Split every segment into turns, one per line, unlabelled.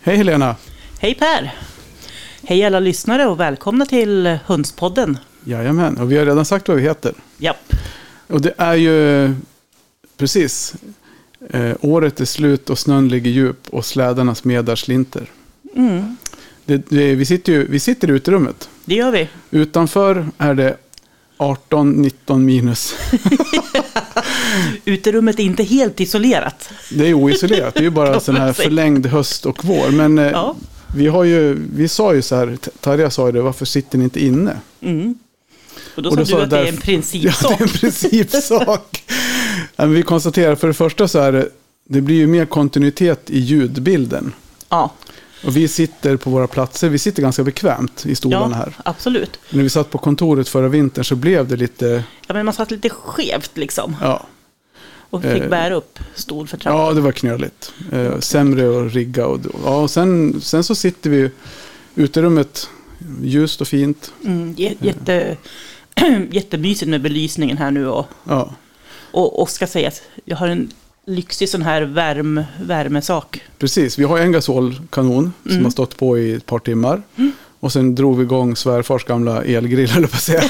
Hej Helena!
Hej Per! Hej alla lyssnare och välkomna till Hönspodden.
Jajamän, och vi har redan sagt vad vi heter.
Japp.
Och det är ju precis. Eh, året är slut och snön ligger djup och slädarna smedar slinter.
Mm,
Det, det, vi, sitter ju, vi sitter i uterummet.
det gör vi.
Utanför är det 18-19 minus.
Uterummet är inte helt isolerat.
Det är oisolerat. Det är ju bara sån här förlängd höst och vår. Men eh,
Ja.
vi, har ju, vi sa ju så här, Tarja sa ju det, varför sitter ni inte inne?
Mm. Och då
Och
sa
då
du
sa
att det är
därför-
en
Ja,
principsak.
det är en principsak. Nej, men vi konstaterar för det första så är det, det blir ju mer kontinuitet i ljudbilden.
Ja,
Och vi sitter på våra platser, vi sitter ganska bekvämt i stolarna
ja
här.
absolut.
När vi satt på kontoret förra vintern så blev det lite,
Ja, men man satt lite skevt liksom
ja,
och fick
Eh.
bära upp stol för trappan.
ja det var knöligt. Eh, sämre att rigga och, ja, och sen, sen så sitter vi i uterummet, ljust och fint.
Mm, jä-
Eh.
jätte, jättemysigt med belysningen här nu och,
Ja,
och, och ska sägas, jag har en lyxig sån här värm, värmesak.
precis. Vi har en gasolkanon
Mm.
som har stått på i ett par timmar. Och sen drog vi igång svärfars gamla elgrill, höll jag på att säga.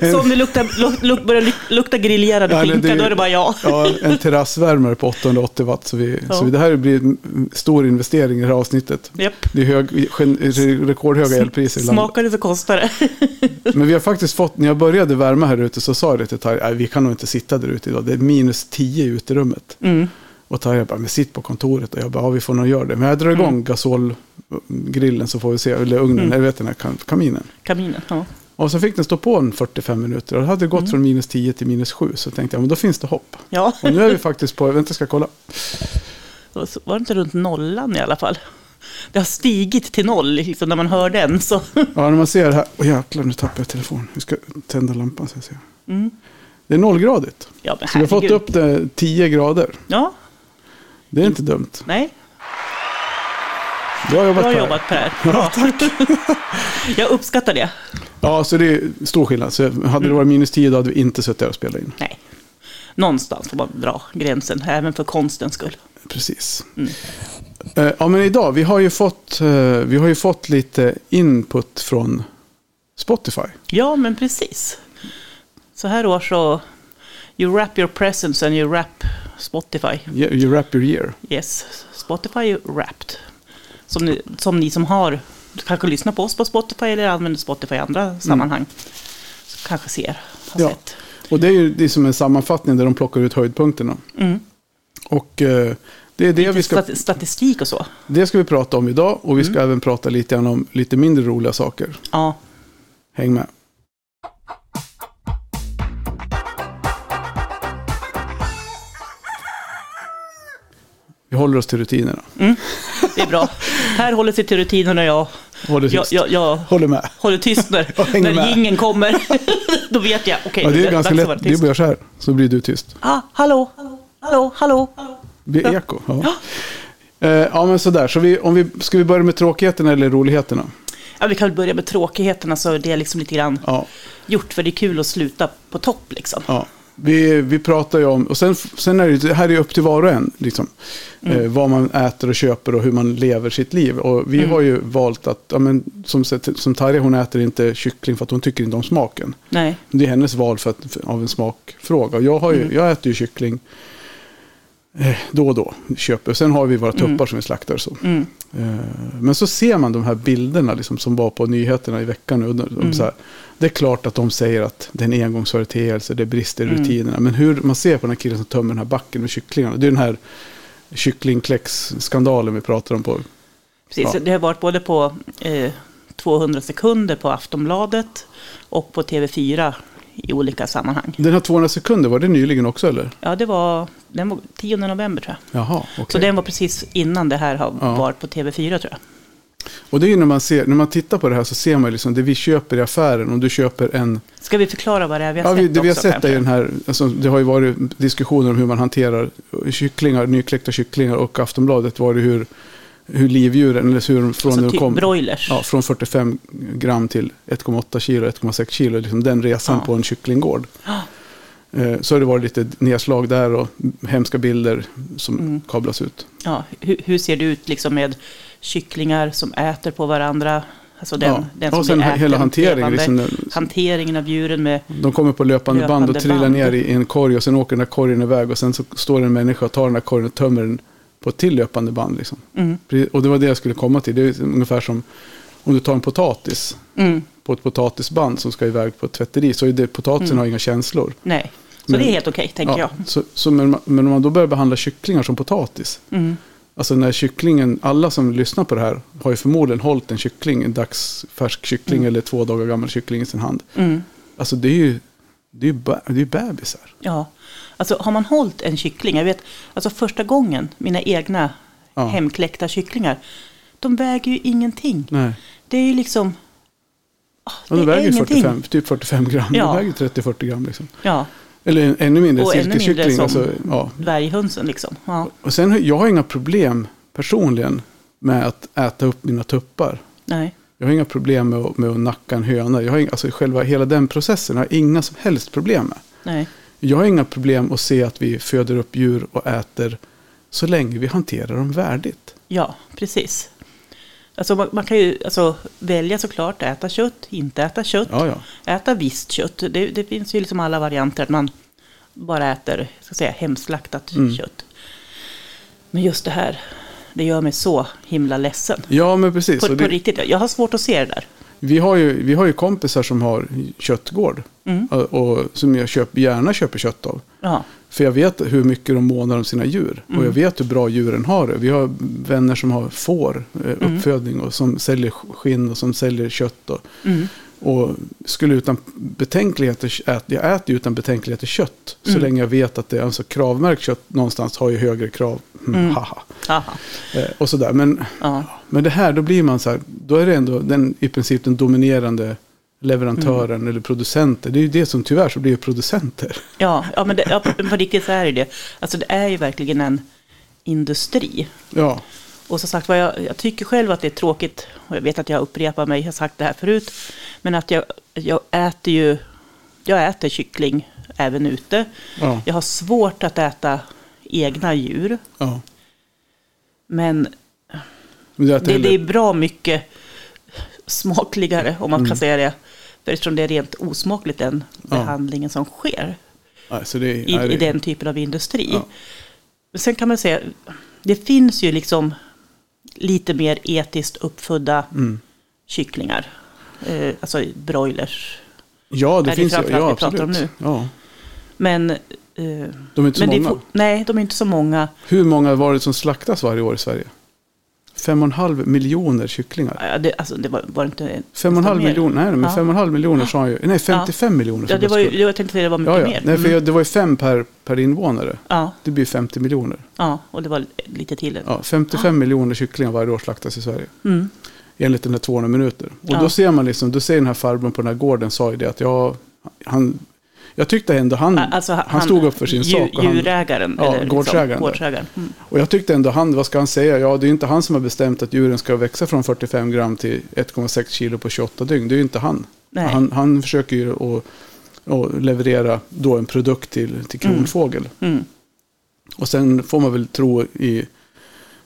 Så om det luktar, luk, luk, börjar luk, lukta griljerad
Eh. Ja, men
skinka,
det-
då är det bara jag.
Ja, en terrassvärmare på 880 watt. Så, vi,
Ja.
så det här blir en stor investering i det här avsnittet.
Japp.
Det är hög, gen- re- rekordhöga elpriser i landet.
Smakar det så kostar det.
Men vi har faktiskt fått, när jag började värma här ute så sa jag det till Tarja, "Nej, vi kan nog inte sitta där ute idag, det är minus 10 i uterummet.
Mm.
Och Tarja bara, men sitt på kontoret. Och jag bara, ja vi får nog göra det. Men jag drar igång
Mm.
gasolgrillen så får vi se, eller ugnen, eller vet den här kam- kaminen.
Kaminen, ja.
Och så fick den stå på en 45 minuter och det hade gått
Mm.
från minus 10 till minus 7. Så tänkte jag, men då finns det hopp.
Ja,
Och nu är vi faktiskt på, vänta jag ska kolla.
var så- var det inte runt nollan i alla fall? Det har stigit till noll liksom, när man hör den. Så.
Ja, när man ser det här. Åh jäklar, nu tappade jag telefonen. Vi ska tända lampan så jag ser.
Mm.
Det är nollgradigt.
Ja, men
Så vi har fått
herregud.
upp det 10 grader.
Ja,
Det är inte dumt.
nej.
Bra jobbat,
Bra
Per.
jobbat Per. Ja, Jag uppskattar det.
Ja, så det är stor skillnad. Så hade
Mm.
det varit minus 10 då hade vi inte suttit här och spelat in.
Nej. Någonstans får man dra gränsen, även för konstens skull.
Precis.
Mm.
Eh, Ja, men idag, vi har ju fått, eh, vi har ju fått lite input från Spotify.
Ja, men precis. Så här år så, you wrap your presents and you wrap Spotify.
You you wrap your year.
Yes, Spotify är Wrapped. Som ni, som ni som har, du kanske lyssnar på oss på Spotify eller använder Spotify i andra sammanhang. Så kanske ser, har
Mm. Ja.
sett.
Och det är ju det är som en sammanfattning där de plockar ut höjdpunkterna.
Mm.
Och eh, det är det vi ska...
Stat- Statistik och så.
Det ska vi prata om idag och vi ska
Mm.
även prata lite grann om lite mindre roliga saker.
Ja,
Häng med. Vi håller oss till rutinerna.
Mm. det är bra. Här håller sig till rutinerna och jag,
Håller,
jag,
tyst.
jag, jag
håller med.
håller tyst när,
Jag hänger
när
med.
jingeln kommer. Då vet jag, okej,
Ja, det är ganska
dags att vara
lätt. Det
tyst.
börjar så här, så blir du tyst.
Ah, hallå, hallå, hallå. hallå.
Det blir eko. Ja. Eh, Ja, men sådär. Så vi, om vi, ska vi börja med tråkigheterna eller roligheterna?
Ja, vi kan väl börja med tråkigheterna så det är liksom lite grann
Ja.
gjort för det är kul att sluta på topp liksom.
Ja, vi, vi pratar ju om, och sen, sen är det, ju- det här är ju upp till var och en, liksom, eh, vad man äter och köper och hur man lever sitt liv. Och vi har ju valt att, ja, men, som, sagt, som Tarja hon äter inte kyckling för att hon tycker inte om smaken.
Nej.
Det är hennes val för att, för, av en smakfråga. Och jag, har ju,
Mm.
jag äter ju kyckling eh, då och då, köper. Sen har vi våra tuppar som vi slaktar och så.
Mm.
Eh, Men så ser man de här bilderna liksom, som var på nyheterna i veckan. Nu, de,
Mm.
de, så här, det är klart att de säger att det är en engångsföreteelse, det brister i
Mm.
rutinerna. Men hur man ser på den här killen som tömmer den här backen med kycklingarna. Det är den här kycklingkläcksskandalen vi pratar om på.
Precis,
Ja.
det har varit både på eh, 200 sekunder på Aftonbladet och på TV4 i olika sammanhang.
Den här 200 sekunder, var det nyligen också eller?
Ja, det var den var 10 november tror jag.
Jaha,
Så
okej.
den var precis innan det här har
Ja.
varit på TV4 tror jag.
Och det är ju när man, ser, när man tittar på det här så ser man ju liksom det vi köper i affären. Om du köper en...
Ska vi förklara vad det är vi har
Ja,
sett
vi, det vi har
också,
sett är ju
kanske?
den här, alltså, det har ju varit diskussioner om hur man hanterar kycklingar, nykläckta kycklingar och Aftonbladet var det hur, hur livdjuren, eller hur från
Alltså
när de
typ
kom,
broilers.
ja, från 45 gram till 1,8 kilo, 1,6 kilo, liksom den resan
Ja.
på en kycklinggård. Eh, Så har det varit lite nedslag där och hemska bilder som
Mm.
kablas ut.
Ja, hur, hur ser det ut liksom med kycklingar som äter på varandra? Alltså den,
Ja.
den
Och
som
sen
blir
he- hela
äten
hanteringen,
levande.
liksom den-
hanteringen av djuren med...
De kommer på löpande, band och
Löpande
trillar
band.
ner i en korg och sen åker den där korgen iväg och sen så står en människa och tar den där korgen och tömmer den på ett till löpande band. Liksom.
Mm,
Pre- Och det var det jag skulle komma till. Det är ungefär som om du tar en potatis
mm,
på ett potatisband som ska iväg på ett tvätteri så är det, potatisen
Mm.
har inga känslor.
nej, så
Men-
det är helt okej, tänker
Mm. Ja,
jag.
Så, så, men, ma- men om man då börjar behandla kycklingar som potatis.
Mm,
Alltså när kycklingen, alla som lyssnar på det här har ju förmodligen hållit en kyckling, en dagsfärsk kyckling eller två dagar gammal kyckling i sin hand.
mm,
Alltså det är ju, det är ju, bä- det är ju bebisar.
ja. Alltså, har man hållit en kyckling, jag vet, alltså första gången, mina egna
Ja.
hemkläckta kycklingar, de väger ju ingenting.
Nej.
Det är ju liksom... ah,
Ja, de
det är
väger ju
ingenting.
45, typ 45 gram.
Ja.
De väger 30-40 gram liksom.
Ja,
Eller en- ännu mindre,
Och ännu mindre
silkeskyckling.
som-
Alltså, ja.
dvärghönsen liksom. Ja,
Och sen, har- jag har inga problem personligen med att äta upp mina tuppar.
nej.
Jag har inga problem med att, med att nacka en höna. Jag har inga, alltså själva hela den processen har jag inga som helst problem med.
Nej.
Jag har inga problem att se att vi föder upp djur och äter så länge vi hanterar dem värdigt.
Ja, precis. Alltså man, man kan ju alltså, välja såklart att äta kött, inte äta kött,
Ja, ja.
äta visst kött. Det, det finns ju liksom alla varianter att man bara äter ska jag säga, hemslaktat kött. Men just det här, det gör mig så himla ledsen.
Ja, men precis.
På,
Och
på
det,
riktigt, jag har svårt att se det där.
vi, har ju, vi har ju kompisar som har köttgård.
Mm.
Och, och, som jag köp, gärna köper kött av.
Ja,
För jag vet hur mycket de månar om sina djur. Och jag
Mm.
vet hur bra djuren har det. Vi har vänner som har får, eh,
Mm.
uppfödning och som säljer skinn och som säljer kött. Och,
Mm.
och skulle utan betänkligheter, ät, jag äter ju utan betänkligheter kött.
Mm.
Så länge jag vet att det är alltså kravmärkt kött någonstans har ju högre krav. Mm, Haha.
Aha.
Eh, och sådär. Men,
ja,
men det här, då blir man så här, då är det ändå den, i princip den dominerande leverantören
Mm.
eller producenten. Det är ju det som tyvärr så blir ju producenter.
ja, ja, men det, ja, på- på riktigt så är det ju det. Alltså det är ju verkligen en industri.
Ja,
Och som sagt var, jag, jag tycker själv att det är tråkigt, och jag vet att jag upprepar mig, jag har sagt det här förut, men att jag, jag äter ju, jag äter kyckling även ute.
ja,
Jag har svårt att äta egna djur,
ja.
men
Men du äter
det,
hellre-
det är bra mycket smakligare, om man
Mm.
kan säga det, för eftersom det är rent osmakligt den behandlingen som sker
Nej, så det är,
i,
nej, det,
i den typen av industri.
Ja.
Men Sen kan man säga, det finns ju liksom lite mer etiskt uppfödda
Mm.
kycklingar. Eh, alltså broilers.
Ja, det
är det
finns ju.
framförallt
Ja,
vi pratar
absolut.
om
Ja.
Men, eh,
De är inte så
men det är
många.
fo- nej, de är inte så många.
Hur många var det som slaktas varje år i Sverige? Fem och en halv miljoner kycklingar.
Ja, det, alltså, det var, var inte...
Fem och en halv
nästan mer.
miljoner, nej, men
Ja.
fem och en halv miljoner sa han ju. Nej, 55 miljoner. för
Ja, det
guds
var ju,
skull.
det- jag tänkte säga det var mycket
ja, ja.
mer.
Nej, för
Mm.
jag, det var ju fem per, per invånare.
ja,
Det blir 50 miljoner.
ja, och det var lite till.
Ja, 55 miljoner kycklingar varje år slaktas i Sverige.
Mm.
Enligt den här 200 minuter. Och
Ja.
då ser man liksom, då ser den här farbrorn på den här gården sa ju det att jag, han, jag tyckte ändå han,
Alltså,
han, stod upp för sin
djur-
sak. och han-
Djurägaren.
Ja,
eller
gårdsägaren där.
Liksom, gårdsägaren. Mm.
Och jag tyckte ändå han, vad ska han säga? Ja, det är ju inte han som har bestämt att djuren ska växa från 45 gram till 1,6 kilo på 28 dygn. Det är ju inte han.
Nej.
Han, han försöker ju att, att leverera då en produkt till, till kronfågel.
Mm.
Och sen får man väl tro i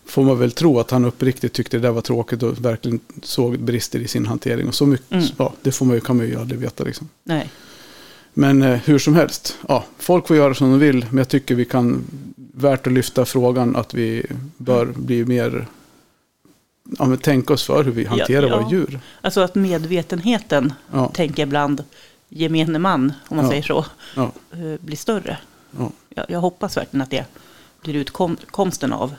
får man väl tro att han uppriktigt tyckte det där var tråkigt och verkligen såg brister i sin hantering. Och så mycket,
Mm.
ja, det får man ju, kan man ju aldrig veta liksom.
Nej.
Men eh, hur som helst, ja, folk får göra som de vill, men jag tycker vi kan, värt att lyfta frågan att vi bör
Mm.
bli mer, ja men tänka oss för hur vi hanterar
ja.
våra djur.
Alltså att medvetenheten,
Ja.
tänker jag ibland, gemene man, om man
Ja.
säger så,
Ja,
eh, blir större.
ja,
Jag, jag hoppas verkligen att det blir utkomsten av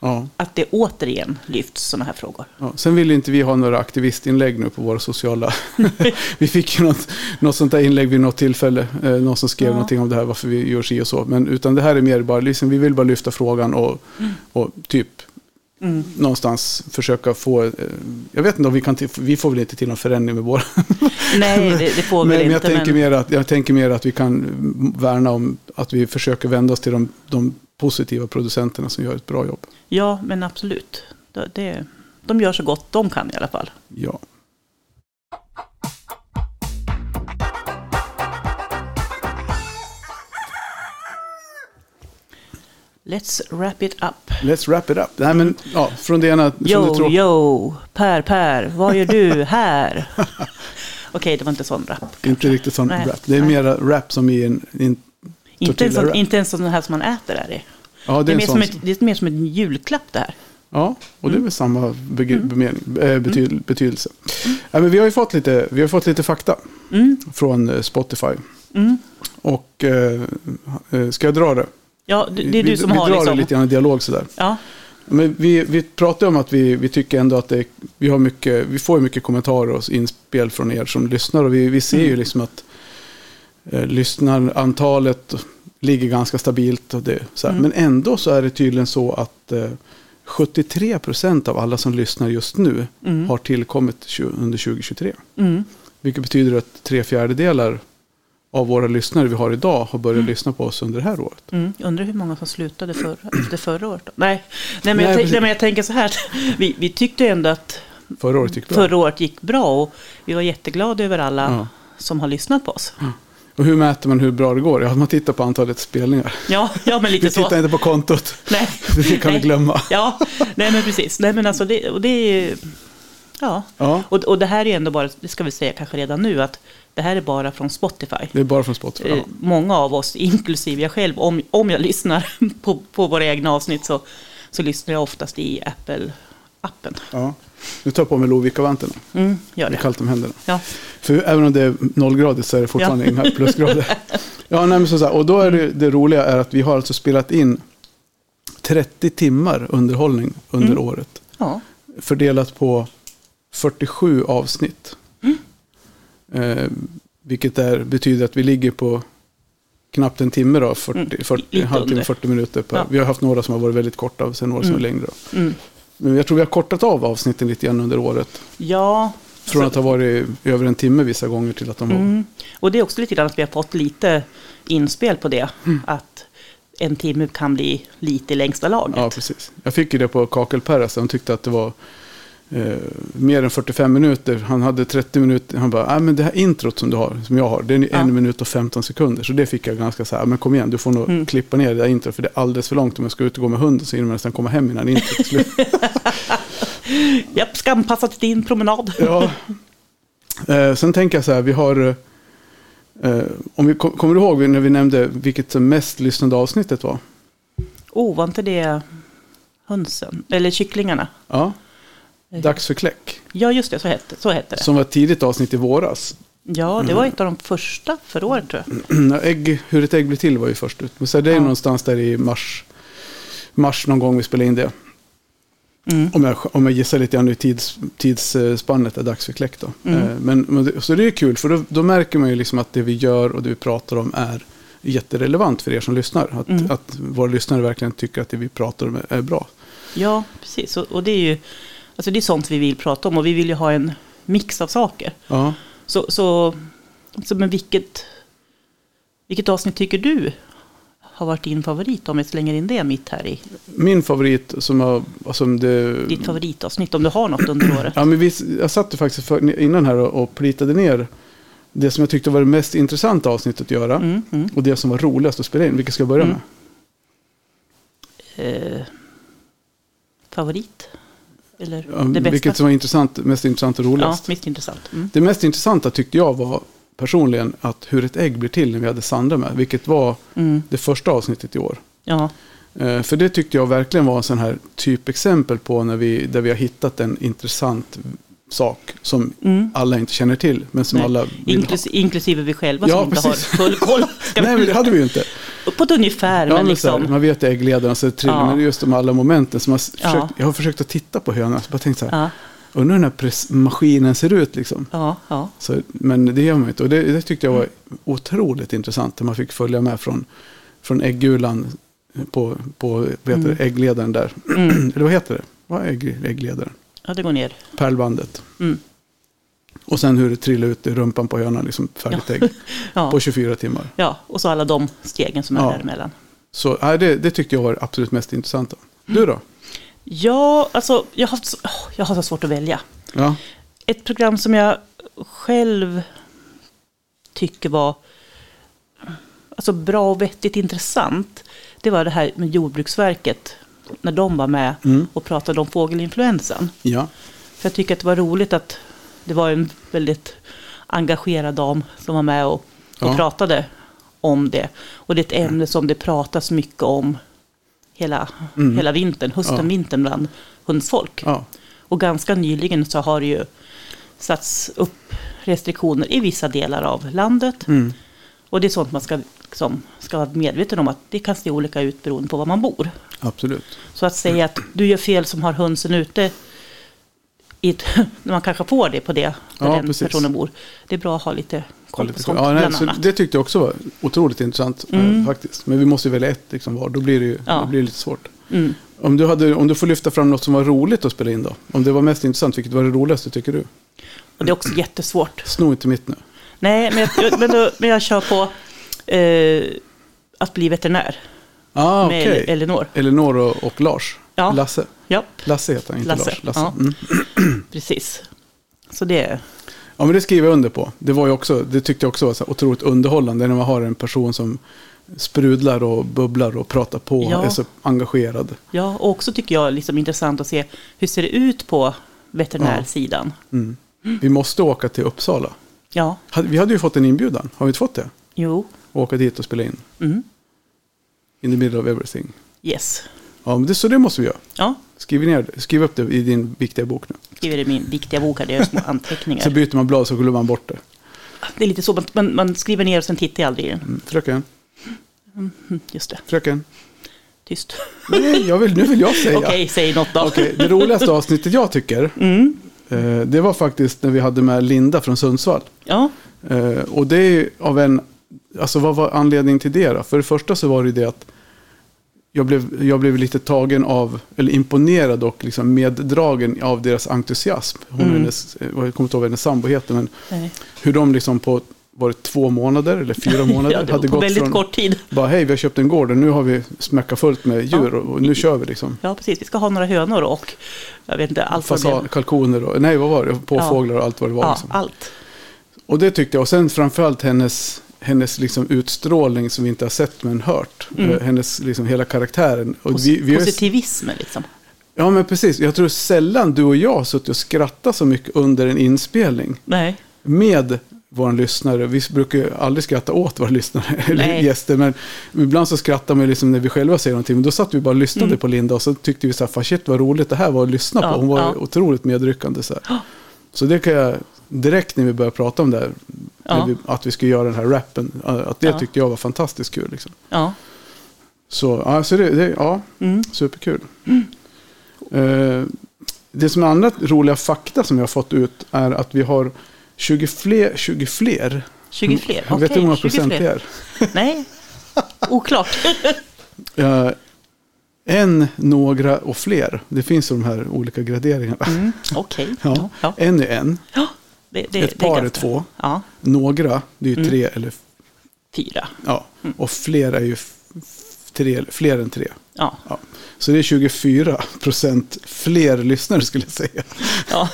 ja,
att det återigen lyfts sådana här frågor.
ja. Sen vill inte vi ha några aktivistinlägg nu på våra sociala, vi fick ju något, något sånt där inlägg vid något tillfälle, eh, någon som skrev
Ja.
någonting om det här, varför vi gör si och så. Men utan det här är mer bara, liksom, vi vill bara lyfta frågan och, och typ
Mm.
någonstans försöka få, eh, jag vet inte om vi kan, till- vi får väl inte till någon förändring med våra
Nej, det, det får
Men,
väl
men, jag,
inte.
tänker mer att, jag tänker mer att vi kan värna om att vi försöker vända oss till de, de positiva producenterna som gör ett bra jobb.
Ja, men absolut. Det, det, de gör så gott de kan i alla fall.
Ja.
Let's wrap it up.
Let's wrap it up. Nej, men, ja, från det ena från det
Yo,
tråkiga.
yo, Per, Per, vad gör du här? Okej, det var inte sån rap.
Inte riktigt sån
Nej,
rap. Det är
nej.
mera rap som i en... i en
Inte en, sån,
tortilla-wrap.
inte en sån här som man äter är det.
Ja,
Det är,
en
mer
sån
som ett, Mm. det är mer som en julklapp det här.
Ja, och det är väl samma beg-
Mm.
bemening, eh, bety- betydelse. Ja, men vi har ju fått lite, vi har fått lite fakta
Mm,
från eh, Spotify. Och eh, eh, ska jag dra det?
Ja, det, det är
vi,
du som
vi
har
drar
liksom...
det lite grann i dialog sådär.
Ja,
Men vi, vi pratar ju om att vi, vi tycker ändå att det, vi, har mycket, vi får ju mycket kommentarer och inspel från er som lyssnar. Och vi, vi ser ju liksom att eh, lyssnarantalet ligger ganska stabilt. Och det, så här. Men ändå så är det tydligen så att eh, 73 procent av alla som lyssnar just nu har tillkommit tju- under 2023.
mm.
Vilket betyder att tre fjärdedelar av våra lyssnare vi har idag har börjat lyssna på oss under det här året.
Mm. Undrar hur många som slutade för, efter förra året. Då. Nej, nej, men
Nej,
jag, tänk-
precis.
nej, men jag tänker så här. att Vi, vi tyckte ju ändå att
Förra året gick bra.
förra året gick bra och vi var jätteglada över alla
Ja.
som har lyssnat på oss.
Och hur mäter man hur bra det går? Ja, man tittar på antalet spelningar.
Ja, ja men
Vi
lite så.
tittar inte på kontot.
Nej.
Det kan vi
Nej.
glömma.
Ja, nej men precis. Nej men alltså det, och det är ju, ja.
Ja.
Och, och det här är ju ändå bara, det ska vi säga kanske redan nu, att det här är bara från Spotify.
Det är bara från Spotify.
Eh,
Ja.
Många av oss, inklusive jag själv, om, om jag lyssnar på, på våra egna avsnitt så, så lyssnar jag oftast i Apple-appen.
Ja. Nu tar jag på mig Lovikkavantarna.
Mm, gör
Det är
det.
kallt om händerna.
Ja.
För även om det är nollgradigt så är det fortfarande
Ja.
inga plusgrader. Ja, nej, men så så här, och då är det, det roliga är att vi har alltså spelat in 30 timmar underhållning under
Mm.
året.
ja.
Fördelat på 47 avsnitt.
Mm.
Eh, vilket är, betyder att vi ligger på knappt en timme, då, 40,
Mm,
40,
lite
en halvtimme,
under.
40 minuter. Per.
Ja.
Vi har haft några som har varit väldigt korta och sen några som är längre. Då.
Mm.
Men jag tror vi har kortat av avsnitten lite grann under året.
Ja.
Från att ha varit över en timme vissa gånger till att de var...
Alltså- Mm. Och det är också lite grann att vi har fått lite inspel på det.
Mm.
Att en timme kan bli lite i längsta laget.
Ja, precis. Jag fick ju det på Kakelperra, så han tyckte att det var eh, mer än 45 minuter. Han hade 30 minuter. Han bara, "Ah, men det här introt som du har, som jag har, det är en
Ja.
minut och 15 sekunder. Så det fick jag ganska så här, men kom igen, du får
Mm.
nog klippa ner det där introt, för det är alldeles för långt. Om jag ska ut och gå med hunden så hinner man nästan komma hem innan introt är slut.
Japp, ska anpassa till din promenad.
Ja. Eh, sen tänker jag så här, vi har... Eh, om vi, kom, kommer du ihåg när vi nämnde vilket som mest lyssnade avsnittet var?
Oh, var inte det hönsen? Eller kycklingarna?
Ja. Dags för kläck.
Mm. Ja, just det, så hette, så hette det.
Som var ett tidigt avsnitt i våras.
Ja, det var
Mm.
ett av de första förra året tror jag.
Ägg, hur ett ägg blir till var ju först ut. Men så det är
Ja.
någonstans där i mars, mars någon gång vi spelade in det.
Mm.
Om, jag, om jag gissar lite grann nu i tids, tidsspannet är dags för kläck då.
Mm.
Eh, Men, men, det- så det är kul, för då, då märker man ju liksom att det vi gör och det vi pratar om är jätterelevant för er som lyssnar. Att,
Mm.
att våra lyssnare verkligen tycker att det vi pratar om är, är bra.
Ja, precis. Och, och det är ju alltså det är sånt vi vill prata om och vi vill ju ha en mix av saker.
Ja.
Så, så, så men vilket, vilket avsnitt tycker du har varit din favorit? Om jag slänger in det mitt här i
Min favorit som jag... Alltså det,
ditt favoritavsnitt, om du har något under året.
Ja, men vi, jag satt ju faktiskt för, innan här och, och plitade ner det som jag tyckte var det mest intressanta avsnittet att göra.
Mm, mm.
Och det som var roligast att spela in. Vilket ska jag börja
Mm.
med?
Eh, favorit? Eller
Ja,
det bästa?
vilket som var intressant, mest intressant och
ja,
roligast.
mitt är intressant. Mm.
Det mest intressanta tyckte jag var personligen att hur ett ägg blir till när vi hade Sandra med. Vilket var
Mm.
det första avsnittet i år.
Ja,
Eh, För det tyckte jag verkligen var en sån här typexempel på när vi, där vi har hittat en intressant sak som
Mm.
alla inte känner till, men som
nej.
alla vill ha.
Inklus- inklusive vi själva
Ja,
som inte har
precis.
full koll. Ska
Nej,
vi-
men det hade vi ju inte.
På ett ungefär,
Ja,
men
men så här,
liksom.
man vet äggledarna så trillar
Ja.
alltså, men det är just de alla momenten. Som man s-
Ja.
försökt, jag har försökt att titta på hönan, så bara tänkt så här,
Ja,
undrar hur den här press- maskinen ser ut liksom.
ja, ja.
Så, men det gör man ju inte. Och det, det tyckte jag var otroligt intressant, när man fick följa med från, från äggulan eh, på, på vad heter
Mm.
det, äggledaren där. Eller vad heter det? Vad är ägg, äggledaren?
ja det går ner.
Pärlbandet.
Mm.
Och sen hur det trillade ut i rumpan på hönan, liksom färdigt ägg.
Ja.
På 24 timmar.
ja, och så alla de stegen som är
Ja.
däremellan.
Så nej, det, det tyckte jag var det absolut mest intressanta. Du då?
Ja, alltså jag har, haft, så- åh, jag har så svårt att välja.
Ja.
Ett program som jag själv tycker var alltså, bra och vettigt intressant, det var det här med Jordbruksverket, när de var med och pratade om fågelinfluensan.
Ja.
För jag tycker att det var roligt att det var en väldigt engagerad dam som var med och, och
Ja. Mm.
pratade om det. Och det är ett ämne som det pratas mycket om hela, hela vintern, hösten,
Mm. Ja.
vintern bland hundfolk.
Ja.
Och ganska nyligen så har det ju satts upp restriktioner i vissa delar av landet.
Mm.
Och det är sånt man ska, liksom, ska vara medveten om att det kan se olika ut beroende på var man bor.
Absolut.
Så att säga att du gör fel som har hönsen ute, i ett, när man kanske får det på det, där
Ja,
den
precis.
personen bor. Det är bra att ha lite koll på sånt,
Ja, nej,
bland
så
annat. Mm.
det tyckte jag också var otroligt intressant eh, faktiskt. Men vi måste ju välja ett liksom, var, då blir det ju
Ja. Mm.
det blir lite svårt. Om, du hade, om du får lyfta fram något som var roligt att spela in då? Om det var mest intressant, vilket var det roligaste tycker du?
Och det är också jättesvårt.
Sno inte mitt nu.
Nej, men jag, men då, men jag kör på eh, att bli veterinär.
Ah,
Med
okej.
El- Elinor.
Elinor och, och Lars.
Ja.
Lasse.
Ja,
Lasse heter han, inte
Lasse.
Lars. Lasse.
Ja.
Mm.
precis. Så det är...
Ja, men det skriver jag under på. Det, var ju också, det tyckte jag också var så här otroligt underhållande när man har en person som sprudlar och bubblar och pratar på och
Ja.
är så engagerad.
Ja, och också tycker jag liksom intressant att se hur ser det ut på veterinärsidan.
Vi måste åka till Uppsala.
Ja,
Hade- Vi hade ju fått en inbjudan, har vi inte fått det?
jo,
Och åka dit och spela in.
Mm.
In the middle of everything.
yes.
Ja, men det, så det måste vi göra.
Ja,
Skriv, ner, det. skriv upp det i din viktiga bok nu.
skriver i min viktiga bok här, det är små
Så
anteckningar.
byter man blad så glömmer man bort det.
Det är lite så, man- man, man skriver ner och sen tittar jag aldrig i den.
Mm, Fröken,
Mm, Just det,
fröken.
tyst.
Nej, jag vill, nu vill jag säga.
Okej, Mm. säg något då.
Okej, det roligaste avsnittet jag tycker, eh, det var faktiskt när vi hade med Linda från Sundsvall.
Ja,
Eh, och det är ju av en, alltså vad var anledningen till det då? För det första så var det ju det att jag blev, jag blev lite tagen av, eller imponerad och liksom meddragen av deras entusiasm. Hon och
Mm.
hennes, eh, jag kommer inte ihåg vad hennes sambo heter, men
nej.
hur de liksom på, var det två månader eller fyra månader?
ja det var på
gått
väldigt
från,
kort tid.
Bara hej, vi har köpt en gård och nu har vi smäckat fullt med djur
Ja.
och, och nu kör vi liksom.
Ja, precis. Vi ska ha några hönor och jag vet inte allt vad det
Fasan,
blev.
kalkoner och, nej vad var det, påfåglar och allt vad det var.
Ja,
liksom.
allt.
Och det tyckte jag, och sen framförallt hennes, hennes liksom utstrålning som vi inte har sett men hört.
Mm.
Eh, Hennes liksom hela karaktären. Och vi, vi har ju-
Positivismen liksom.
ja men precis, jag tror sällan du och jag har suttit och skrattat så mycket under en inspelning
Nej,
med vår lyssnare. Vi brukar ju aldrig skratta åt våra lyssnare eller
Nej.
gäster, men ibland så skrattar man ju liksom när vi själva säger någonting. Men då satt vi bara och lyssnade på Linda och så tyckte vi så här, fan shit vad roligt det här var att lyssna
Mm. Ja,
på. Hon var
ja.
otroligt medryckande. Så, här. så det kan jag, direkt när vi började prata om det här,
Ja.
när vi, att vi skulle göra den här rappen, att det
Ja.
tyckte jag var fantastiskt kul. Liksom.
ja.
Så, ja, så det, det, ja
Mm.
superkul. Eh, det som är andra roliga fakta som jag har fått ut är att vi har 20 fler, 20 fler
20 fler.
Mm. jag vet du hur
Okej,
många
20
procent
fler.
det är?
Nej, oklart.
Eh, en, några och fler. Det finns ju de här olika graderingarna.
Mm, Okej.
Ja.
Ja.
En är en,
Ja, det, det,
Ett
det
par är
ganska-
två.
Ja,
några, det är
Mm.
ju tre eller...
fyra.
Ja, och fler är ju f- f- tre, fler än tre.
Ja,
Ja. Så det är 24 procent fler lyssnare skulle jag säga.
ja.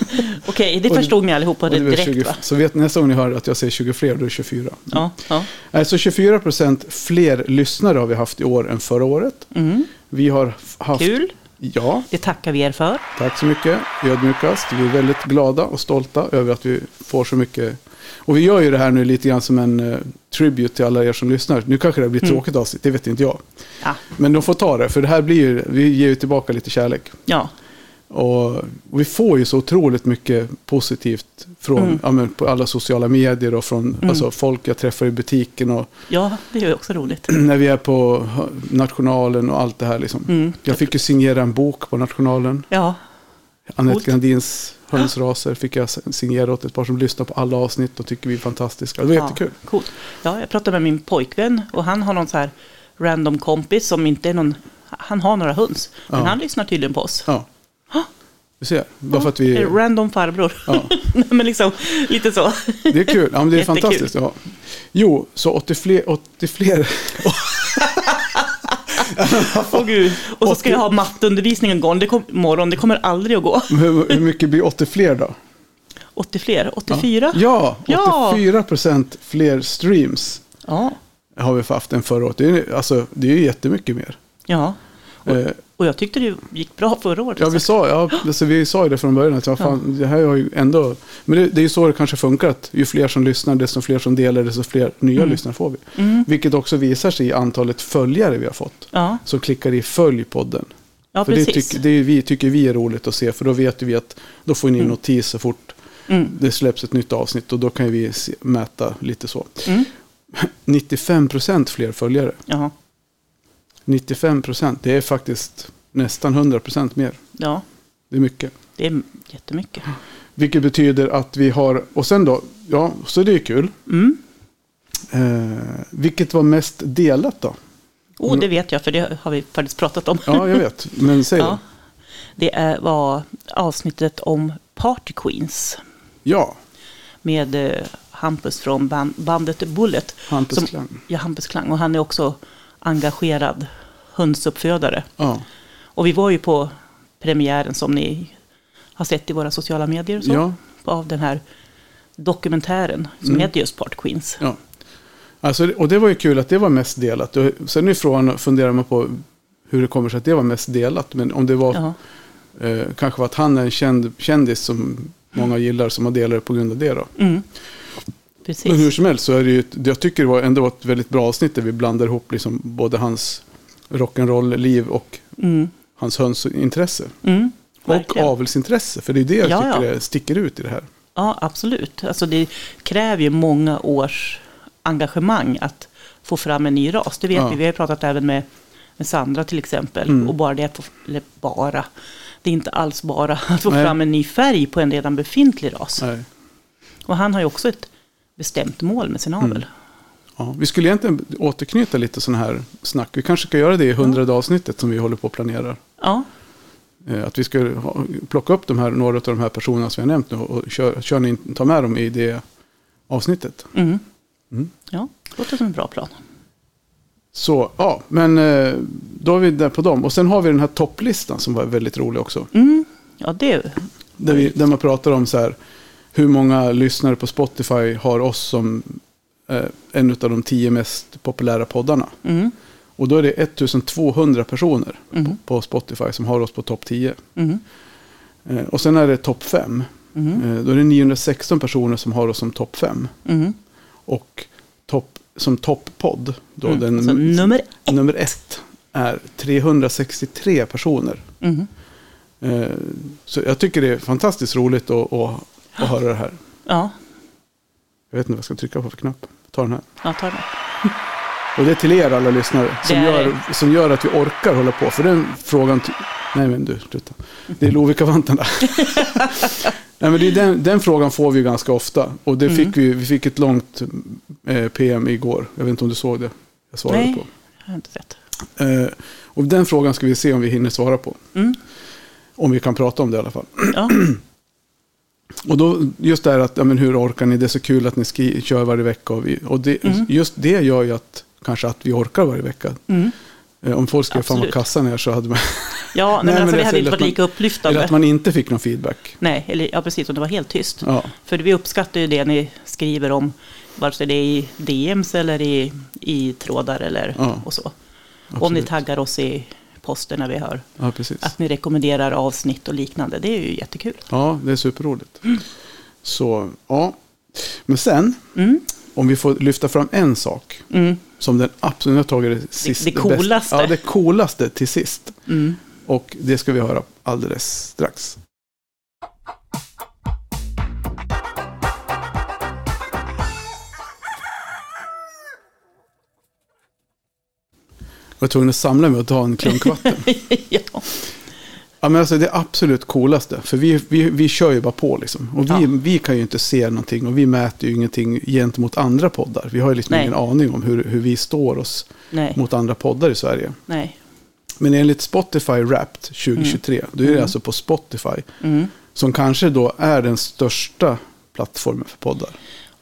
okej, det
Och det-
förstod ni allihopa det
Och det är väl
direkt
20
va?
så vet, nästa gång ni hör att jag säger 20 fler, då är det 24.
Ja, ja.
Nej, Så 24 procent fler lyssnare har vi haft i år än förra året.
Mm.
Vi har f- haft...
Kul,
Ja,
det tackar vi er för.
Tack så mycket, ödmjukast. Vi är väldigt glada och stolta över att vi får så mycket. Och vi gör ju det här nu lite grann som en eh, tribute till alla er som lyssnar. Nu kanske det blir
Mm.
ett tråkigt avsnitt, det vet inte jag.
Ja,
Men de får ta det, för det här blir ju, vi ger ju tillbaka lite kärlek.
ja.
Och vi får ju så otroligt mycket positivt från
Mm.
ja, men, på alla sociala medier och från alltså, folk jag träffar i butiken och
ja det är ju också roligt.
när vi är på Nationalen och allt det här. Liksom.
Mm.
Jag fick ju signera en bok på Nationalen.
Ja,
Anette
Coolt.
Grandins hönsraser fick jag signera åt ett par som lyssnar på alla avsnitt och tycker vi är fantastiska. Det var jättekul.
Ja, coolt. Ja, jag pratade med min pojkvän och han har någon så här random kompis som inte är någon... Han har några höns, men
Ja.
han lyssnar tydligen på oss.
Ja. Du ser, bara för att vi...
En Random farbror.
Ja.
Nej, men liksom, lite så.
Det är kul. Ja, men det är
Jättekul.
fantastiskt. Ja. Jo, så 80 fler... 80 fler
Åh gud. Och så ska jag ha matteundervisningen igång. Det kom, imorgon. Det kommer aldrig att gå.
hur, hur mycket blir 80 fler då?
80 fler? 84?
Ja,
Ja.
84 procent fler streams.
Ja.
har vi haft än förra året. Det är, ju- alltså, det är ju jättemycket mer.
Ja. Och,
Eh.
och jag tyckte det gick bra förra året.
Ja, vi sa, ja, alltså, vi sa ju det från början. Att, ja, fan, det här har ju ändå... Men det, det är ju så det kanske funkar. Att ju fler som lyssnar, desto fler som delar, desto fler nya
Mm.
lyssnare får vi. Vilket också visar sig i antalet följare vi har fått.
Ja,
Som klickar i följ podden.
ja
för det,
precis.
tycker, det är, vi, tycker vi är roligt att se. För då vet vi att då får ni en notis så fort
Mm.
det släpps ett nytt avsnitt. Och då kan ju vi se, mäta lite så.
Mm.
95% fler följare.
Ja.
95% det är faktiskt nästan 100% mer.
ja,
Det är mycket.
det är jättemycket.
Vilket betyder att vi har, och sen då, ja, så det är kul.
Mm.
Eh, vilket var mest delat då?
Oh, det vet jag, för det har vi faktiskt pratat om.
Ja, jag vet, men säg
Ja.
ja.
Det är, var avsnittet om Party Queens
ja,
med eh, Hampus från ban- bandet Bullet.
Hampus
Som-
Klang.
Ja, Hampus Klang. Och han är också engagerad hönsuppfödare.
Ja,
Och vi var ju på premiären som ni har sett i våra sociala medier och så,
Ja. Mm.
av den här dokumentären som heter just Part Queens.
ja. Alltså, och det var ju kul att det var mest delat. Och Sen är frågan, funderar man på hur det kommer sig att det var mest delat. Men om det var,
Ja,
eh, kanske var att han är en känd, kändis som många gillar som har delat det på grund av det då.
Mm. precis.
Men hur som helst så är det ju, ett- jag tycker det var ändå ett väldigt bra avsnitt där vi blandar ihop liksom både hans rock'n'roll-liv och
Mm,
hans hönsintresse.
mm,
Och
verkligen.
avelsintresse, för det är det jag
Ja,
tycker
ja.
är- sticker ut i det här.
Ja, absolut. Alltså det kräver ju många års engagemang att få fram en ny ras. Det vet
Ja. Mm.
vi. Vi har ju pratat även med, med Sandra till exempel. Och bara det att få, eller bara, det är inte alls bara att få
Nej.
fram en ny färg på en redan befintlig ras.
Nej.
Och han har ju också ett bestämt mål med
Mm.
sin avel.
Ja, vi skulle egentligen återknyta lite sådana här snack. Vi kanske ska göra det i hundrade avsnittet som vi håller på och planerar.
Ja,
Eh, Att vi ska ha, plocka upp de här, några av de här personerna som vi har nämnt nu och kör, kör in, ta med dem i det avsnittet.
mm.
Mm.
ja låter som en bra plan.
Så, ja, men eh, då är vi där på dem. Och sen har vi den här topplistan som var väldigt rolig också.
Mm. Ja, det,
Där, vi, där man pratar om så här, hur många lyssnare på Spotify har oss som eh, en av de tio mest populära poddarna.
mm.
Och då är det 1200 personer
Mm.
på Spotify som har oss på topp 10.
Mm.
Eh, och sen är det topp 5.
Mm.
Eh, då är det 916 personer som har oss som topp 5.
Mm.
Och topp, som topppodd, då
Mm.
den
Alltså, nummer ett.
nummer ett är 363 personer.
Mm.
Eh, så jag tycker det är fantastiskt roligt att, att, att höra det här.
Ja,
Jag vet inte vad jag ska trycka på för knapp. Ta den här.
jag tar det.
Och det är till er alla lyssnare som,
Det är
gör, som gör att vi orkar hålla på. För den frågan... ty- Nej men du, sluta. Det är Lovikkavantarna. Nej men det är den, den frågan får vi ju ganska ofta. Och
Mm.
det fick vi, vi fick ett långt eh, PM igår. Jag vet inte om du såg det. Jag svarade
Nej,
på.
jag har inte sett.
Eh, och den frågan ska vi se om vi hinner svara på.
Mm.
Om vi kan prata om det i alla fall.
Ja.
Och då, just det här att, ja, men hur orkar ni? Det är så kul att ni skri- kör varje vecka. Och, vi, och det, just det gör ju att, kanske att vi orkar varje vecka.
Mm.
Eh, Om folk skrev fan vad
Absolut.
kassan är så hade man...
Ja,
men
nej, men alltså,
det
det hade
är
inte
så
varit
lätt
lika
eller
upplyftande.
att man inte fick någon feedback.
Nej, eller, ja, precis, om det var helt tyst.
Ja,
För vi uppskattar ju det ni skriver om, vare sig det är i DMs eller i, i trådar eller
Ja.
och så. Om ni
absolut.
taggar oss i posten när vi hör
Ja, precis.
att ni rekommenderar avsnitt och liknande, det är ju jättekul.
Ja, det är superroligt. Så, ja. Men sen,
Mm.
om vi får lyfta fram en sak.
Mm.
Som den absolut, jag har tagit det sist.
det
bästa-
coolaste.
Ja, det coolaste till sist.
Mm.
Och det ska vi höra alldeles strax. Jag var tvungen att samla mig och ta en klunk vatten.
ja.
Ja, men alltså det absolut coolaste, för vi, vi, vi kör ju bara på liksom. Och vi,
Ja.
vi kan ju inte se någonting och vi mäter ju ingenting gentemot andra poddar. Vi har ju liksom
Nej.
ingen aning om hur, hur vi står oss
Nej,
mot andra poddar i Sverige.
nej.
Men enligt Spotify Wrapped 2023, då är det alltså på Spotify,
Mm.
som kanske då är den största plattformen för poddar.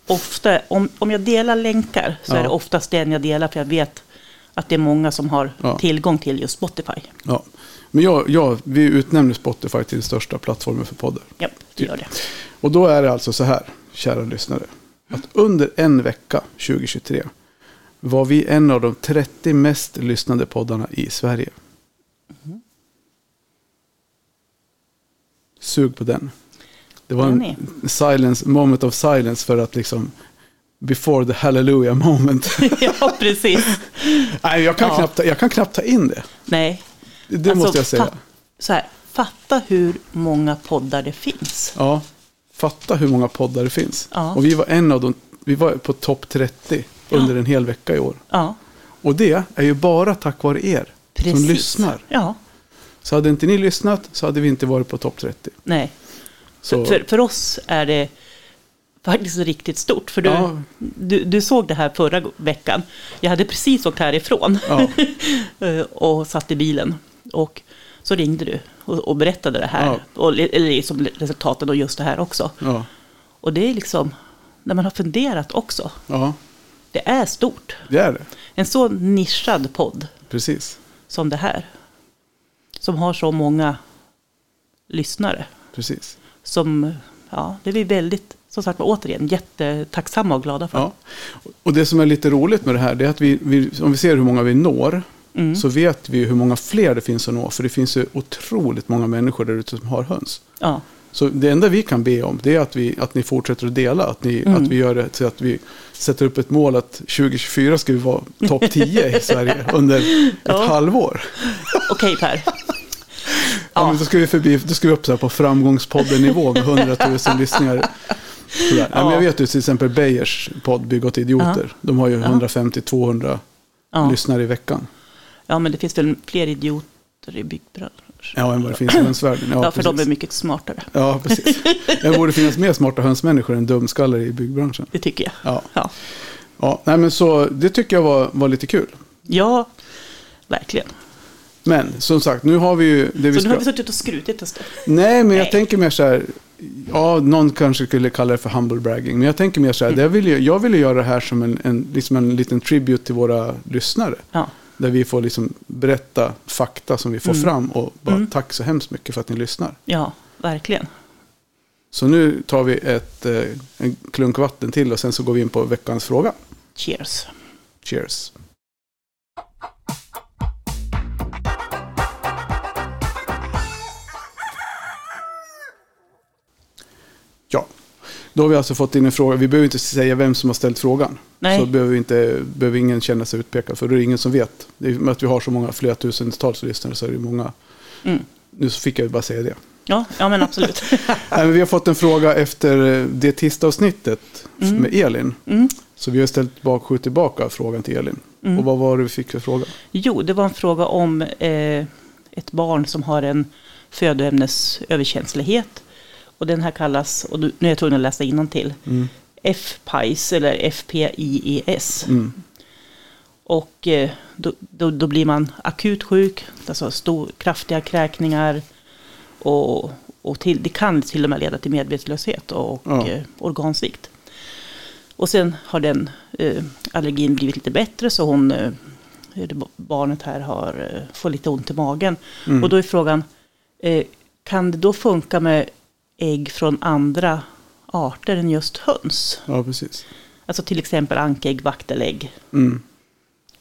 Ofta, om, om jag delar länkar så
Ja.
är det oftast den jag delar för jag vet att det är många som har
Ja.
tillgång till just Spotify.
Ja. Men jag, jag, vi utnämner Spotify till den största plattformen för poddar.
Ja, det gör det.
Och då är det alltså så här, kära lyssnare, att under en vecka 2023 var vi en av de 30 mest lyssnade poddarna i Sverige. Sug på den. Det var
Den
en silence, moment of silence för att liksom before the hallelujah moment.
ja, precis.
Nej, jag kan,
Ja. Alltså,
knappt, jag kan knappt ta in det.
Nej.
Det måste jag säga.
Fa- så här, fatta hur många poddar det finns.
Ja, fatta hur många poddar det finns.
Ja.
Och vi var en av dem, vi var på topp 30 under en hel vecka i år.
Ja,
Och det är ju bara tack vare er
precis.
som lyssnar.
Ja,
Så hade inte ni lyssnat så hade vi inte varit på topp 30.
nej.
Så,
För, för oss är det faktiskt riktigt stort. För du,
Ja.
du, du såg det här förra go- veckan. Jag hade precis åkt härifrån
Ja.
Eh, och satt i bilen. Och så ringde du och, och berättade det här.
Ja.
Och, li- eller liksom resultaten och just det här också.
ja,
Och det är liksom, när man har funderat också,
ja,
det är stort.
det är det.
En så nischad podd
Precis.
som det här. Som har så många lyssnare.
Precis.
Som, ja, det är vi väldigt, som sagt var återigen, jättetacksamma och glada för.
Ja. Och det som är lite roligt med det här det är att vi, vi, om vi ser hur många vi når
Mm.
så vet vi hur många fler det finns att nå. För det finns ju otroligt många människor där ute som har höns.
Ja,
Så det enda vi kan be om det är att, vi, att ni fortsätter att dela. Att, ni,
Mm.
att vi gör det så att vi sätter upp ett mål att 2024 ska vi vara topp 10 i Sverige under ett
Ja.
halvår.
okej Per.
Ja.
Ja.
men då, ska vi förbi, då ska vi upp så här på framgångspodden-nivå med 100 000 lyssningar. Ja. Ja, men jag
Ja.
vet ju till exempel Beijers podd Bygg åt idioter. De har ju 150-200
Ja.
lyssnare i veckan.
Ja, men det finns väl fler idioter i byggbranschen.
Ja, än vad det finns i hönsvärlden.
Ja,
Ja,
för de är mycket smartare.
Ja, precis. Det borde finnas mer smarta hönsmänniskor än dumskallar i byggbranschen.
Det tycker jag.
Ja.
Ja,
Ja, nej, men så, det tycker jag var, var lite kul.
ja verkligen.
Men som sagt, nu har vi ju det vi
Så nu har
ska...
vi suttit och skrutit en stund.
Nej, men jag
Nej.
tänker mer så här. Ja, någon kanske skulle kalla det för humble bragging. Men jag tänker mer
Mm.
så här. Jag ville, jag ville göra det här som en, en, liksom en liten tribute till våra lyssnare.
Ja,
Där vi får liksom berätta fakta som vi får
Mm.
fram. Och bara tack så hemskt mycket för att ni lyssnar.
ja verkligen.
Så nu tar vi ett, eh, en klunk vatten till och sen så går vi in på veckans fråga.
Cheers.
Cheers. Ja, då har vi alltså fått in en fråga. Vi behöver inte säga vem som har ställt frågan.
Nej.
Så behöver, vi inte, behöver ingen känna sig utpekad, för då är det ingen som vet. Det är med att vi har så många, flera tusentals lyssnare så är det många.
Mm.
Nu så fick jag bara säga det.
Ja, ja, men absolut.
Nej, men vi har fått en fråga efter eh, det tistavsnittet med Elin.
Mm.
Så vi har ställt bak, skjutit tillbaka frågan till Elin. Och vad var det vi fick för fråga?
Jo, det var en fråga om eh, ett barn som har en födoämnesöverkänslighet. Och den här kallas, och du, nu är jag tvungen att läsa innantill,
Mm.
F-PIES eller FPIES.
Mm.
Och eh, då, då, då blir man akut sjuk, alltså stor, kraftiga kräkningar. Och, och till, det kan till och med leda till medvetslöshet och
Ja.
eh, organsvikt. Och sen har den eh, allergin blivit lite bättre så hon, eh, det ba- barnet här har, eh, får lite ont i magen. Och då är frågan, eh, kan det då funka med ägg från andra arter än just höns?
Ja, precis.
Alltså till exempel ankägg, vaktelägg
Mm.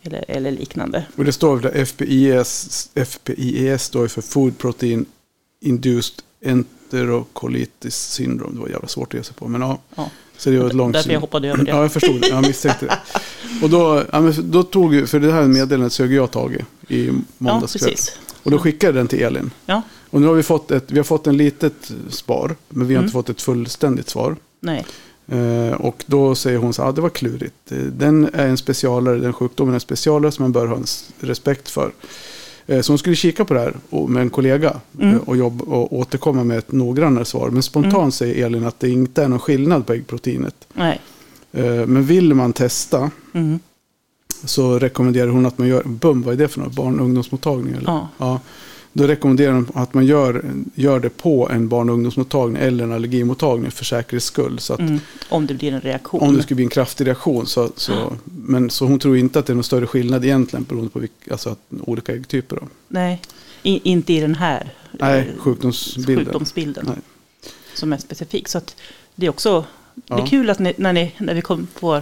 eller, eller liknande.
Och det står väl där FPIS, FPIES står ju för Food Protein Induced Enterocolitis Syndrome. Det var jävla svårt att ge sig på, men ja.
Ja.
Så det var ett långt
Därför jag hoppade över det.
Ja, jag förstod det. Jag misstänkte det. Och då, ja, men då tog ju, för det här meddelandet sög jag tag i i
Ja,
måndags kväll.
precis.
Och då skickade jag den till Elin.
Ja,
Och nu har vi fått ett, vi har fått en litet svar, men
Mm.
vi har inte fått ett fullständigt svar.
nej.
Eh, och då säger hon så här, ah, det var klurigt. Eh, Den är en specialare, den sjukdomen är en specialare som man bör ha en s- respekt för. Eh, så hon skulle kika på det här och, med en kollega eh, och, jobb, och återkomma med ett noggrannare svar. Men spontant säger Elin att det inte är någon skillnad på äggproteinet.
nej.
Eh, men vill man testa
Mm.
så rekommenderar hon att man gör, bum vad är det för något, barn och ungdomsmottagning? Eller?
Ja.
Då rekommenderar hon att man gör, gör det på en barn och ungdomsmottagning eller en allergimottagning för säkerhets skull. Så att
Mm. Om det blir en reaktion.
om det skulle bli en kraftig reaktion. Så, så, men, så hon tror inte att det är någon större skillnad egentligen beroende på vilk, alltså att, olika äggtyper. Då.
Nej, I, inte i den här eh,
Nej, sjukdomsbilden.
sjukdomsbilden
Nej.
som är specifik. Så att det är också det
Ja.
är kul att ni, när, ni, när vi kom på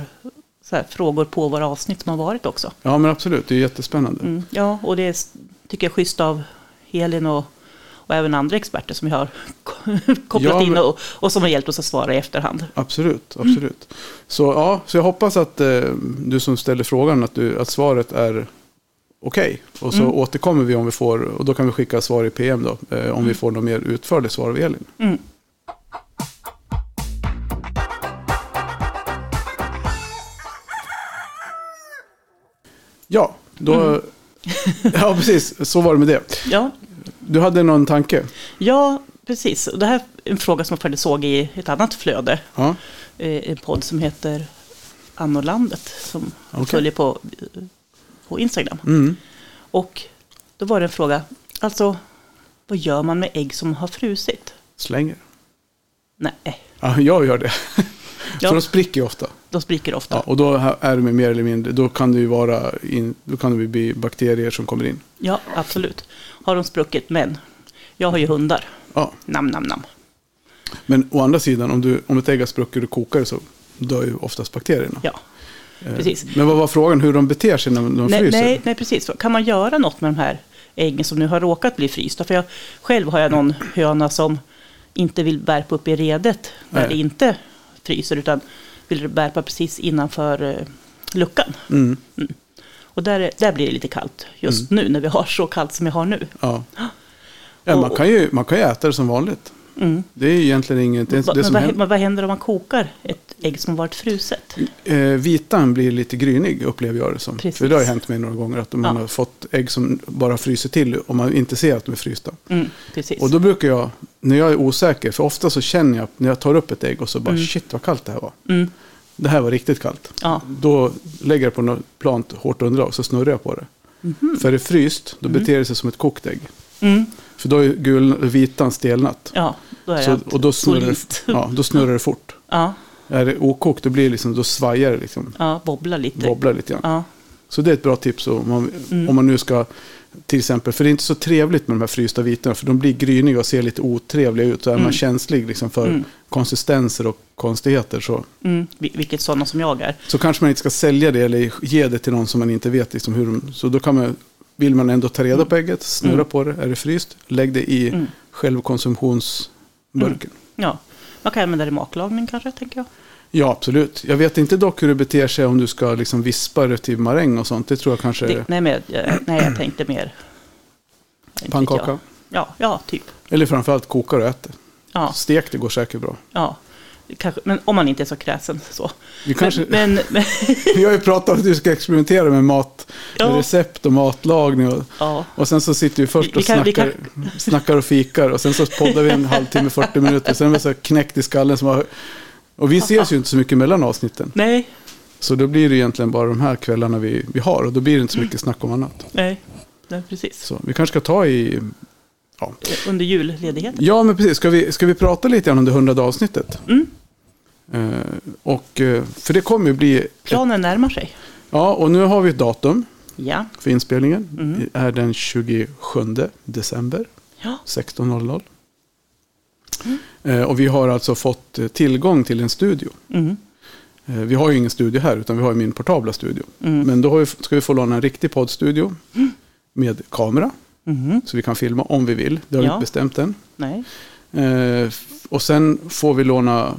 så här, frågor på våra avsnitt som har varit också.
Ja, men absolut. Det är jättespännande.
Mm, ja, och det är, tycker jag är schysst av Helin och, och även andra experter som jag har kopplat
Ja, men-
in och, och som har hjälpt oss att svara i efterhand.
Absolut, absolut. Så, ja, så jag hoppas att eh, du som ställer frågan, att, du, att svaret är okej. Och så återkommer vi om vi får, och då kan vi skicka svar i PM då, eh, om vi får något mer utförligt svar av Elin. Ja, då... Ja, precis. Så var det med det.
Ja,
Du hade någon tanke?
ja precis. Och Det här är en fråga som jag faktiskt såg i ett annat flöde.
Ja,
eh, en podd som heter Annorlandet som
Okej.
följer på, eh, på Instagram.
mm.
Och då var det en fråga, alltså vad gör man med ägg som har frusit?
slänger.
Nej,
Ja, jag gör det.
Ja.
För de spricker ju ofta.
de spricker ofta.
Ja,
Ja.
och då är de ju mer eller mindre, då kan det ju vara in, då kan det ju bli bakterier som kommer in.
absolut. Har de spruckit, men jag har ju hundar.
Ja.
Nam, nam, nam.
Men å andra sidan, om, du, om ett ägg har spruckit och du kokar det så dör ju oftast bakterierna.
Ja,
Eh,
precis.
Men vad var frågan? Hur de beter sig när de
Nej,
fryser?
nej, nej, precis. Kan man göra något med de här äggen som nu har råkat bli frysta? För jag, själv har jag någon höna som inte vill värpa upp i redet när
Nej.
det inte fryser, utan vill värpa precis innanför eh, luckan.
Mm,
Och där, är- där blir det lite kallt just nu, när vi har så kallt som vi har nu.
ja. Ja, man, kan ju, man kan ju äta det som vanligt.
Mm.
Det är ju egentligen inget. Det, är
Va-
det
Men
som
vad, hä-
händer.
men vad händer om man kokar ett ägg som har varit fruset?
Eh, vitan blir lite grynig upplever jag det som.
Precis.
För det har ju hänt mig några gånger att man
Ja.
har fått ägg som bara fryser till om man inte ser att de är frysta.
Mm, precis.
Och då brukar jag, när jag är osäker, för ofta så känner jag när jag tar upp ett ägg och så bara shit vad kallt det här var.
Mm,
Det här var riktigt kallt.
ja,
Då lägger jag på något plant hårt underlag så snurrar jag på det.
Mhm.
För är det fryst, då beter det sig som ett kokt ägg.
mm,
För då är gul, vitan stelnat.
ja, då är
så,
det
och då snurrar, det,
solitt. Ja.
ja, då snurrar det fort.
Ja,
Är det okokt, då, blir det liksom, då svajar det liksom.
wobbla lite.
Wobblar lite grann.
Ja,
Så det är ett bra tips om man,
Mm.
om man nu ska till exempel, för det är inte så trevligt med de här frysta vitorna för de blir gryniga och ser lite otrevliga ut. Så är
Mm.
man känslig liksom för konsistenser och konstigheter så,
mm, vil- vilket sådana som jag är.
så kanske man inte ska sälja det eller ge det till någon som man inte vet liksom hur de, Så då kan man, vill man ändå ta reda på
Mm.
ägget, snurra på det, är det fryst, lägg det i självkonsumtionsburken.
Ja, man kan använda det i matlagning kanske, tänker jag.
Ja, absolut. Jag vet inte dock hur det beter sig om du ska liksom vispa det till maräng och sånt. Det tror jag kanske
Det,
är
nej, men, jag- nej, jag tänkte mer... Inte vet
pannkaka.
jag. Ja, ja typ.
Eller framförallt koka och äta.
Ja,
Stek, det går säkert bra.
ja. Kanske, men om man inte är så kräsen så.
Vi, kanske,
Men, men, men
vi har ju pratat om att du ska experimentera med mat, med
Ja.
recept och matlagning. Och,
ja,
och sen så sitter vi först
Vi- vi
och
kan- vi
snackar, snackar och fikar och sen så poddar vi en halvtimme, 40 minuter. Sen är man så här knäckt i skallen. Som har, och vi ses ju inte så mycket mellan avsnitten.
nej,
Så då blir det egentligen bara de här kvällarna vi, vi har och då blir det inte så mycket snack om annat.
nej, nej, precis.
Så vi kanske ska ta i... Ja,
Under julledigheten.
ja men precis. Ska vi, ska vi prata lite grann om det hundrade avsnittet?
Mm.
Eh, och, eh, för det kommer ju bli...
Planen närmar sig.
Ja, och nu har vi ett datum.
Ja,
för inspelningen
Mm.
Det är den 27 december
ja,
16.00. Eh, Och vi har alltså fått eh, tillgång till en studio.
mm,
Eh, Vi har ju ingen studio här utan vi har ju min portabla studio.
Mm.
Men då har vi, f- ska vi få låna en riktig poddstudio med kamera.
mhm,
Så vi kan filma om vi vill. Det har vi
Ja.
inte bestämt än.
nej,
Eh, f- Och sen får vi låna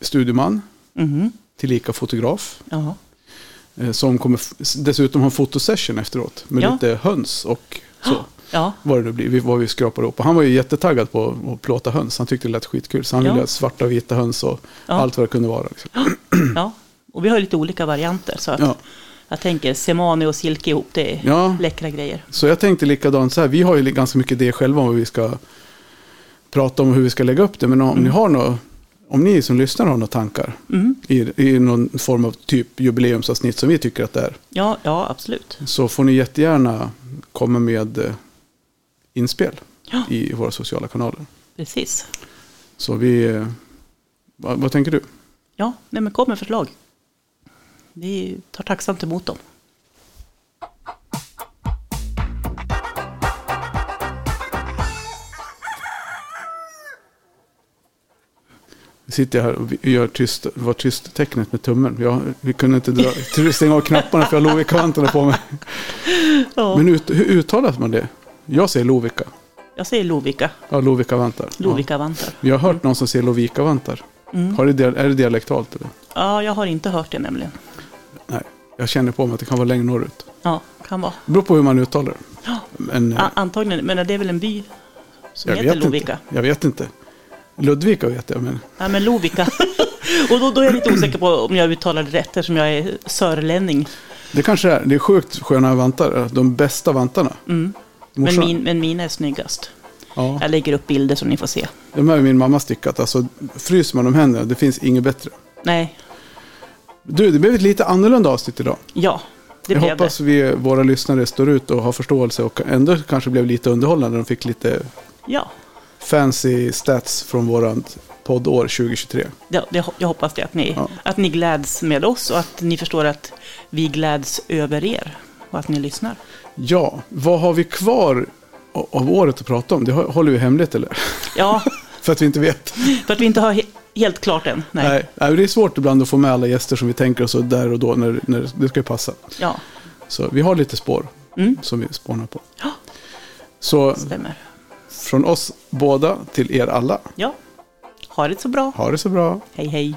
studioman,
mhm,
tillika fotograf.
ja,
eh, Som kommer f- s- dessutom ha en fotosession efteråt. Med
Ja. Ah.
lite höns och så.
ja,
vad det nu blir, vi- vad vi skrapar ihop. Och han var ju jättetaggad på att plåta höns. Han tyckte det lät skitkul. Så han
Ja.
ville ha svarta och vita höns och
Ja.
allt vad det kunde vara. Liksom.
ja. Och vi har ju lite olika varianter. Så att
Ja.
jag tänker semani och silke ihop, det är
Ja.
läckra grejer.
Så jag tänkte likadant så här. Vi har ju li- ganska mycket idéer själva om vad vi ska prata om och hur vi ska lägga upp det. Men om
Mm.
ni har något, om ni som lyssnar har några tankar i, i någon form av typ jubileumsavsnitt som vi tycker att det är.
Ja, ja, absolut.
Så får ni jättegärna komma med eh, inspel
Ja.
i våra sociala kanaler.
Precis.
Så vi, eh, vad, vad tänker du?
Ja, nej men kom med förslag. Vi tar tacksamt emot dem.
sitter jag här och vi- gör tyst, var tyst-tecknet med tummen. Jag, vi kunde inte dra, tr- stänga av knapparna för jag har Lovikkavantarna på mig.
Ja.
Men ut, hur uttalas man det? Jag säger Lovikka.
Jag säger Lovika.
Ja, Lovikkavantar.
Lovikavantar.
Ja. Jag har hört någon som säger Lovikavantar.
Mm.
Har det, dia- är det dialektalt eller?
Ja, jag har inte hört det nämligen.
Nej, jag känner på mig att det kan vara längre norrut.
Ja, kan vara.
Det beror på hur man uttalar det.
Ja.
Men, eh,
A- antagligen, men det är väl en by som
jag
heter
vet
Lovika.
inte. Jag vet inte. Ludvika vet jag, men
Nej, men Lovika. Och då, då är jag lite osäker på om jag uttalar det rätt eftersom jag är sörlänning.
det kanske är. Det är sjukt sköna vantar. De bästa vantarna.
Mm. Men,
Morsan-
min, men mina är snyggast.
Ja,
Jag lägger upp bilder så ni får se.
de här har min mamma stickat. Alltså, fryser man de händerna, det finns inget bättre.
Nej,
Du, det blev ett lite annorlunda avsnitt idag.
ja, det
jag
blev det.
hoppas vi, våra lyssnare står ut och har förståelse och ändå kanske blev lite underhållande. De fick lite
Ja,
fancy stats från vårat poddår 2023.
det, det, jag hoppas det att ni,
Ja.
att ni gläds med oss och att ni förstår att vi gläds över er och att ni lyssnar.
Ja, vad har vi kvar a- av året att prata om? Det hå- håller vi hemligt eller?
Ja,
För att vi inte vet.
för att vi inte har he- helt klart än. Nej.
Nej. Nej, det är svårt ibland att få med alla gäster som vi tänker oss och där och då när, när det ska ju passa.
Ja,
Så vi har lite spår
Mm.
som vi spånar på.
Ja.
Så
stämmer.
från oss båda till er alla,
Ja, ha det så bra.
ha det så bra.
Hej, hej.